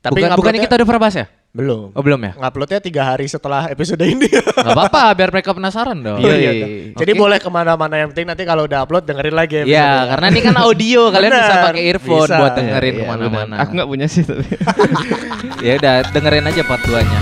[SPEAKER 3] Tapi
[SPEAKER 1] bukan, bukannya kita udah pernah bahas ya?
[SPEAKER 3] belum.
[SPEAKER 1] Oh belum ya?
[SPEAKER 3] Nguploadnya tiga hari setelah episode
[SPEAKER 1] *laughs*
[SPEAKER 3] ini.
[SPEAKER 1] Gak
[SPEAKER 3] Oh,
[SPEAKER 1] apa-apa, biar mereka penasaran dong.
[SPEAKER 2] Iya, iya.
[SPEAKER 3] Jadi boleh kemana-mana yang penting nanti kalau udah upload dengerin
[SPEAKER 1] Iya,
[SPEAKER 3] lagi episodenya.
[SPEAKER 1] karena ini kan audio, kalian bisa
[SPEAKER 3] Benar,
[SPEAKER 1] pakai earphone
[SPEAKER 3] bisa.
[SPEAKER 1] buat dengerin
[SPEAKER 2] Iya,
[SPEAKER 1] kemana-mana.
[SPEAKER 2] benar. Aku nggak punya sih
[SPEAKER 1] *laughs*
[SPEAKER 2] tapi.
[SPEAKER 1] Ya udah, dengerin aja part 2-nya.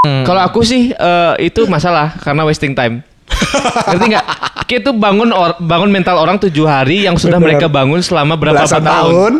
[SPEAKER 1] Hmm.
[SPEAKER 2] Kalau aku sih eh, itu masalah karena wasting time. Ngerti nggak? Kita tuh bangun or- bangun mental orang tujuh hari yang sudah
[SPEAKER 3] Benar.
[SPEAKER 2] mereka bangun selama berapa
[SPEAKER 3] Belasan
[SPEAKER 2] tahun.